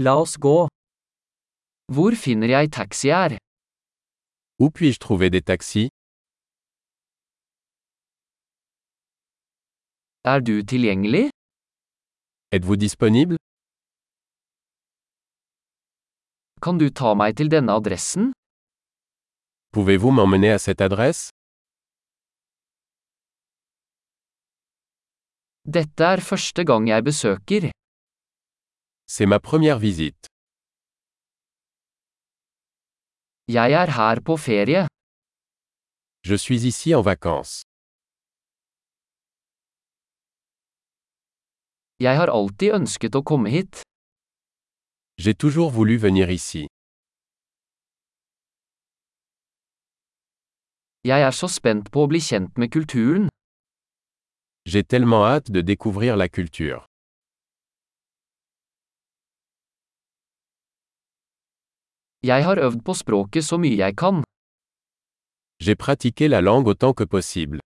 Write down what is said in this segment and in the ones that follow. La oss gå. Hvor finner jeg taxi her? Où puis-je trouver des taxis Er du tilgjengelig? Êtes-vous disponible Kan du ta meg til denne adressen? Pouvez-vous m'emmener à cette adresse Dette er første gang jeg besøker. C'est ma première visite. Jeg er her på ferie. Je suis ici en vacances. Jeg har alltid ønsket å komme hit. J'ai toujours voulu venir ici. Jeg er så spent på å bli kjent med kulturen. J'ai tellement hâte de découvrir la culture. Jeg har øvd på språket så mye jeg kan. J'ai pratiqué la langue autant que possible.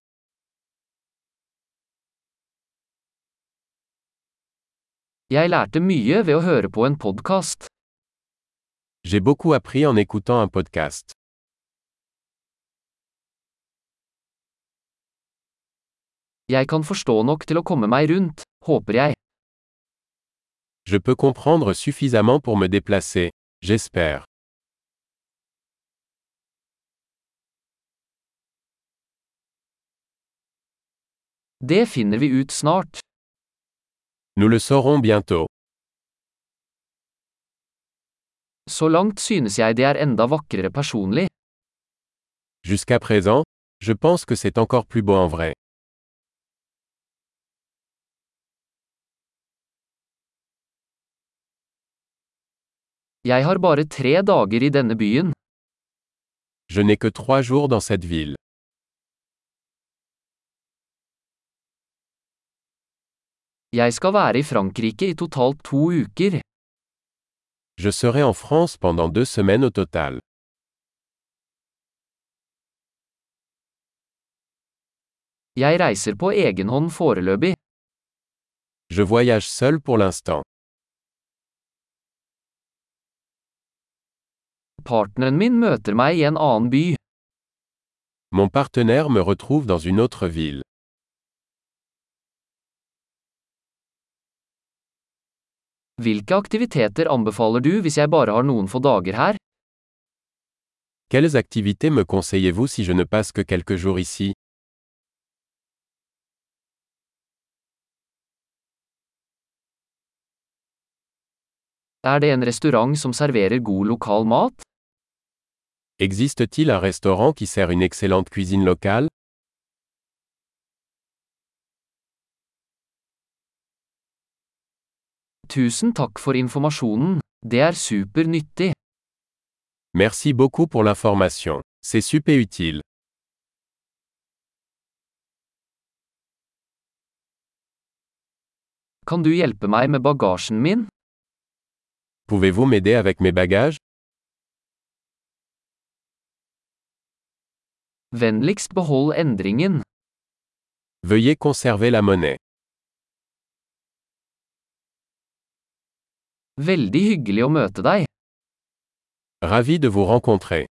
Jeg lærte mye ved å høre på en podkast. J'ai beaucoup appris en écoutant un podcast. Jeg kan forstå nok til å komme meg rundt, håper jeg. Je peux comprendre suffisamment pour me déplacer, j'espère. Det finner vi ut snart. Nous le saurons bientôt. Så langt synes jeg det er enda vakrere personlig. Jusqu'à présent, je pense que c'est encore plus beau en vrai. Jeg har bare tre dager i denne byen. Je n'ai que trois jours dans cette ville. Jeg skal være i Frankrike i totalt to uker. Je serai en France pendant deux semaines au total. Jeg reiser på egen hånd foreløpig. Je voyage seul pour l'instant. Partneren min møter meg i en annen by. Mon partenaire me retrouve dans une autre ville. Hvilke aktiviteter anbefaler du hvis jeg bare har noen få dager her? Quelles activités me conseillez-vous si je ne passe que quelques jours ici Er det en restaurant som serverer god lokal mat? Existe-t-il un restaurant qui sert une excellente cuisine locale Tusen takk for informasjonen. Det er supernyttig. Merci beaucoup pour l'information. C'est super utile. Kan du hjelpe meg med bagasjen min? Pouvez-vous m'aider avec mes bagages Vennligst behold endringen. Veuillez conserver la monnaie. Veldig hyggelig å møte deg. Ravi de vous rencontrer.